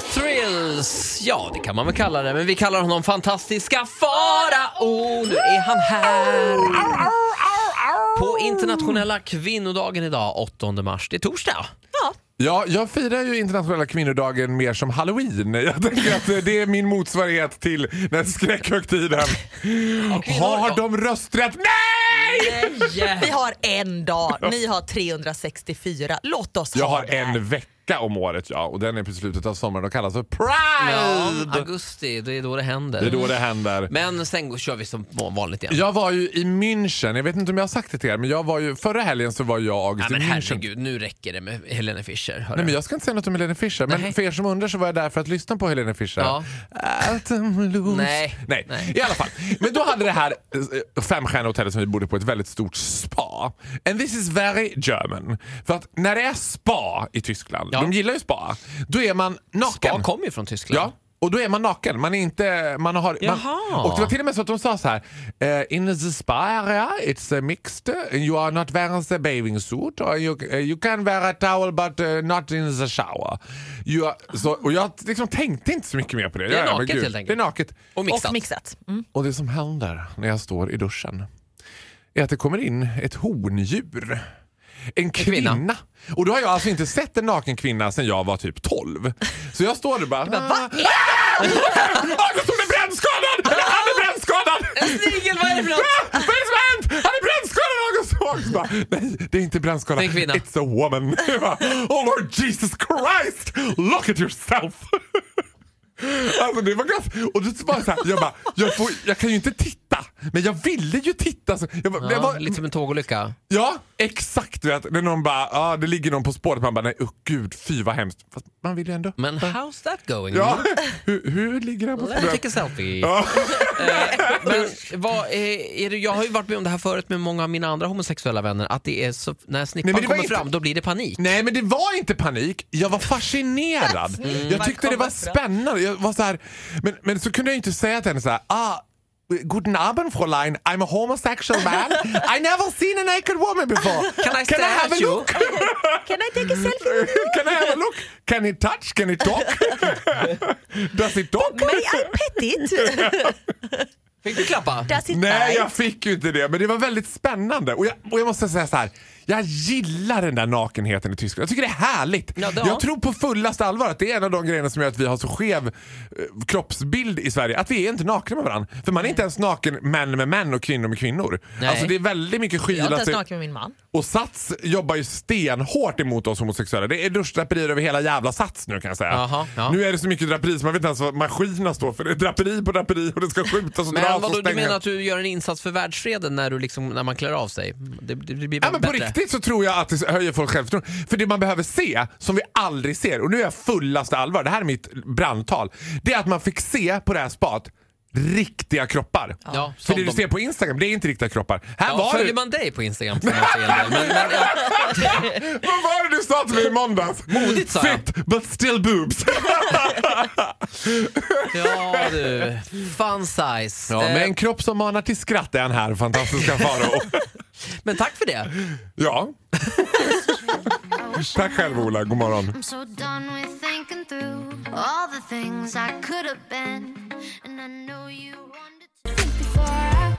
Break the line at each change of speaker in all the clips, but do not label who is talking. Thrills. Ja, det kan man väl kalla det. Men vi kallar honom fantastiska Farao. Nu är han här. På internationella kvinnodagen idag, 8 mars. Det är torsdag.
Mm.
Ja.
Ja, jag firar ju internationella kvinnodagen mer som halloween. Jag tänker att det är min motsvarighet till den skräckhögtiden. Har de rösträtt? Nej!
Vi har en dag, ni har 364. Låt oss
Jag
ha
har
det här.
en vecka om året ja, och den är på slutet av sommaren och kallas för Pride!
Augusti, det är då det händer.
Det är då det händer.
Men sen kör vi som vanligt igen.
Jag var ju i München, jag vet inte om jag har sagt det till er, men jag var ju, förra helgen så var jag och
Nej,
August
men
i München.
herregud, nu räcker det med Helene Fischer. hörru.
Nej, men jag ska inte säga något om Helene Fischer, men
Nej.
för er som undrar så var jag där för att lyssna på Helene Fischer.
Ja.
At I'm loose.
Nej.
Nej.
Nej.
i alla fall. Men då hade det här eh, femstjärniga hotellet som vi bodde på ett väldigt stort spa. And this is very German. För att när det är spa i Tyskland,
Ja.
de gillar ju spa, då är man naken.
Spa kommer ju från Tyskland.
Ja. Och då är man naken. Man är inte... Man har, man,
Jaha.
och det var till och med så att de sa så här. eh, in the spa area it's a mixed. You are not wearing the bathing suit. Or you, eh, you can wear a towel but eh, not in the shower. You are, så, och jag liksom tänkte inte så mycket mer på det.
Det är
Ja, ja, men
naket
gud.
helt enkelt.
Det är naket.
Och mixat.
Och mixat. Mm.
Och det som händer när jag står i duschen är att det kommer in ett hondjur. En kvinna.
kvinna.
Och då har jag alltså inte sett en naken kvinna sedan jag var typ 12. Så jag står där och bara... "Ah!" Du
"Va?"
August hon är brännskadad! Eller han är brännskadad!
Snigel, vad är det för något?
Ah, Vad är det som har hänt? Han är brännskadad August! Och August bara, nej det är inte brännskada.
Det är en kvinna."
It's a woman. Jag bara, oh Lord Jesus Christ! Look at yourself! Alltså det var ganska... Och det var så här, jag bara, jag, får, jag kan ju inte titta. Men jag ville ju titta. Så jag, bara, jag
Ja,
var,
lite som en tågolycka.
ja, exakt. Vet, när någon bara, ah, det ligger någon på spåret. Man bara, nej oh, gud fy vad hemskt. Fast man vill ju ändå.
Men how's that going?
Ja, hur, hur ligger den på
Let's
spåret?
take a selfie. Eh,
Ja.
Men vad är, är det, jag har ju varit med om det här förut med många av mina andra homosexuella vänner, att det är så, när snippan
Nej, men det var
kommer
inte-
fram då blir det panik.
Nej men det var inte panik, jag var fascinerad.
Mm.
Jag tyckte det var spännande. Jag var så här, men, men så kunde jag inte säga till henne så här, ah, Guten Abend Fräulein, I'm a homosexual man. I never seen a naked woman before.
Can I stare
have a
at you?"
look?
Can I take a selfie?
Can I have a look? Can it touch? Can it talk? Does it talk?
May I pet it?
Fick du klappa?
Does it
Nej,
bite?
jag fick ju inte det, men det var väldigt spännande. Och jag, och jag måste säga så här. Jag gillar den där nakenheten i Tyskland. Jag tycker det är härligt.
Ja, det-
jag tror på fullaste allvar att det är en av de grejerna som gör att vi har så skev eh, kroppsbild i Sverige. Att vi är inte nakna med varandra. För man är inte ens naken män med män och kvinnor med kvinnor.
Nej.
Alltså det är väldigt mycket
Jag är inte
skyla.
ens
sig-
naken med min man.
Och Sats jobbar ju stenhårt emot oss homosexuella. Det är duschdraperier över hela jävla Sats nu kan jag säga.
Jaha, ja.
Nu är det så mycket draperi så man vet inte ens vad maskinerna står för. Det är draperi på draperi och det ska skjutas och
Men
dras och
vadå, du
stängas.
menar att du gör en insats för världsfreden när, du liksom, när man klär av sig? Det, det blir
Ja, men på
bättre.
riktigt så tror jag att det höjer folks självförtroende. För det man behöver se, som vi aldrig ser, och nu är jag fullaste allvar, det här är mitt brandtal. Det är att man fick se på det här spat riktiga kroppar.
Ja,
För
som
det du
de-
ser på Instagram, det är inte riktiga kroppar. Här
Ja,
var, det,
följer man dig på Instagram får man se en del. Men, men, ja,
vad var det du sa till mig i måndags?
Modigt, sa jag.
Fit but still boobs.
ja du, fun size.
ja, med
Eh,
en kropp som manar till skratt är han här, fantastiska Farao.
men tack för det.
ja. Tack själv Ola, god morgon.
I'm so done with thinking through all the things I could have been. And I know you wanted to think before I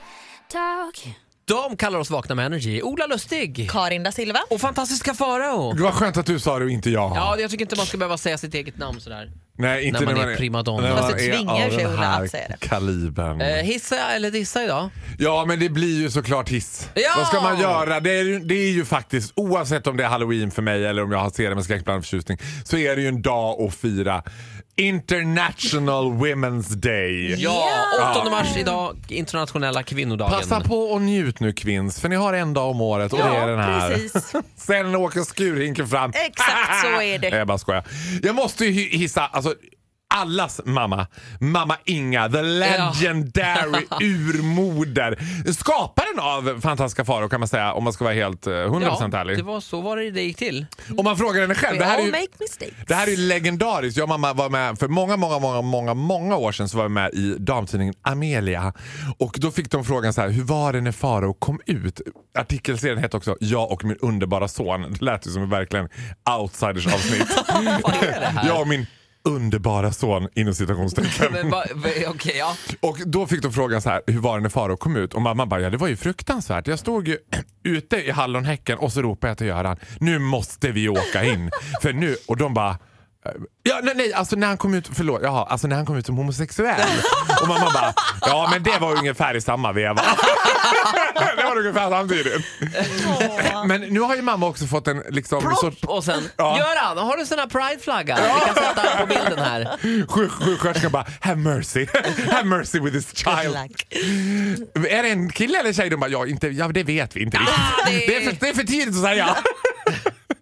talk.
De kallar oss Vakna med Energy. Ola Lustig
Karin da Silva.
och fantastiska Farao.
Det var skönt att du sa det och inte jag.
Ja, jag tycker inte man ska behöva säga sitt eget namn sådär.
Nej, inte
När man är primadonna.
när
Fast
man
det
är
tvingar
av
sig
den
Ola
här
att säga det.
Kalibern.
Eh, hissa eller dissa idag?
Ja, men det blir ju såklart hiss.
Ja!
Vad ska man göra? Det är, ju- det är ju faktiskt, oavsett om det är halloween för mig eller om jag har ser det med skräckblandad förtjusning, så är det ju en dag att fira International Women's Day.
Ja, 8 mars idag, internationella kvinnodagen.
Passa på och njut nu kvinns, för ni har en dag om året och det är den här.
precis.
Sen åker skurhinken fram.
Exakt så är det.
Nej, jag bara skojar. Jag måste ju hi- hissa, alltså allas mamma, mamma Inga, the legendary urmoder. Skaparen av Fantastiska Farao kan man säga om man ska vara helt eh, 100%
Ja,
ärlig.
det var så var det det gick till.
Om man frågar henne
We
själv. Det här är
all
ju...
make mistakes.
Det här är ju legendariskt. Jag och mamma var med för många, många, många, många, många år sedan så var vi med i damtidningen Amelia. Och då fick de frågan så här, hur var det när Faro kom ut? Artikelserien hette också Jag och min underbara son. Det lät ju som verkligen outsiders avsnitt.
Vad är det här?
jag och min underbara son inom citationstecken.
Men va- va- Okej, ja.
Och då fick de frågan så här, hur var det när Faro kom ut? Och mamma bara, ja det var ju fruktansvärt. Jag stod ju ute i hallonhäcken och så ropade jag till Göran, nu måste vi åka in. För nu, och de bara, eh, Ja, nej, nej, alltså när han kom ut, förlåt, jaha, alltså när han kom ut som homosexuell. Och mamma bara, ja men det var ungefär i samma veva. det var ungefär samtidigt. Men nu har ju mamma också fått en liksom, sorts
Plopp! Och sen,
Ja.
Göran, har du sån här prideflagga? Vi kan sätta den på bilden här.
Sjuk- Sjuksköterskan bara “Have mercy, have mercy with this child”. Är det en kille eller tjej? De bara “Ja, inte, ja det vet vi inte riktigt.
det-
Det är, för, det är för tidigt att säga.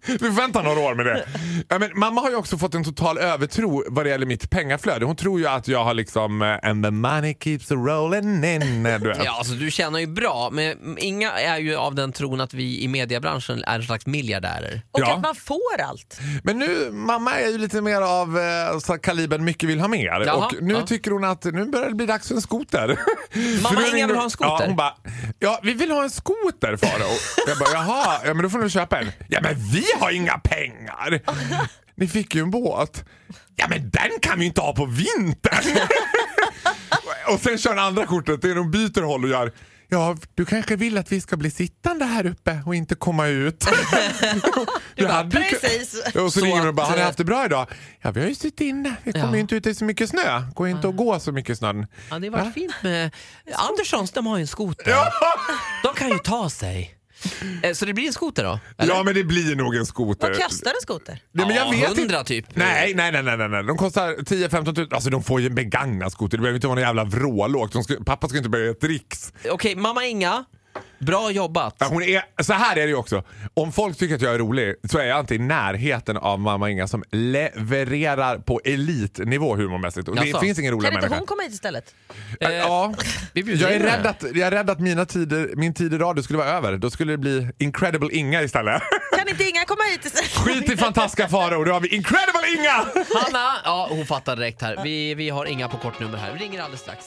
Vi får vänta några år med det. Ja, men mamma har ju också fått en total övertro vad det gäller mitt pengaflöde. Hon tror ju att jag har liksom eh, “And the money keeps a rolling in”. eh, Du vet.
Ja, alltså, du tjänar ju bra, men inga är ju av den tron att vi i mediebranschen är en slags miljardärer.
Och
Ja.
att man får allt.
Men nu, mamma är ju lite mer av eh, så här kalibern “Mycket vill ha mer”
Jaha,
och nu
ja.
tycker hon att nu börjar det bli dags för en skoter. För nu
Inga vill
ringde
ha
hon-
en skoter.
Ja, hon bara, ja vi vill ha en skoter Faro. jag bara, jaha, ja, men då får du köpa en. Ja men vi har inga pengar. Ni fick ju en båt. Ja men den kan vi inte ha på vintern. och sen kör den andra kortet, det är de byter håll och gör Ja, du kanske vill att vi ska bli sittande här uppe och inte komma ut. du
bara,
hade ju kun-
"Precis."
Ja, Och så,
Så
ringer de och bara,
att,
har ni
eh,
haft det bra idag? Ja, vi har ju suttit inne. Vi kommer
Ja.
ju inte ut i så mycket snö. Går ju inte att gå så mycket i snön.
Ja, det har varit fint med... Anderssons, de har ju en skoter. De kan ju ta sig. Eh, Så det blir en skoter då? Eller?
Ja, men det blir nog en skoter.
Vad kostar en skoter?
Nej, men jag
Ja,
vet inte.
100 typ.
Nej, nej, nej, nej, nej, nej. De kostar 10-15 tusen. Alltså de får ju en begagnad skoter. Det behöver inte vara någon jävla vrålåk. De ska, pappa ska inte börja göra ett riks.
Okej, mamma Inga, bra jobbat.
Ja, Hon är, så här är det ju också. Om folk tycker att jag är rolig så är jag inte i närheten av mamma Inga som levererar på elitnivå humormässigt. Och det
Jaså.
finns ingen rolig
Kan inte
människa.
hon komma hit istället?
Eh,
Ja.
vi bjuder
Jag är
in
rädd
henne.
att, jag är rädd att mina tider, min tid i radio skulle vara över. Då skulle det bli Incredible Inga istället.
Kan inte Inga komma hit istället?
Skit i fantastiska faror, då har vi Incredible Inga!
Hanna, ja, hon fattar direkt här. Vi, vi har Inga på kortnummer här. Vi ringer alldeles strax.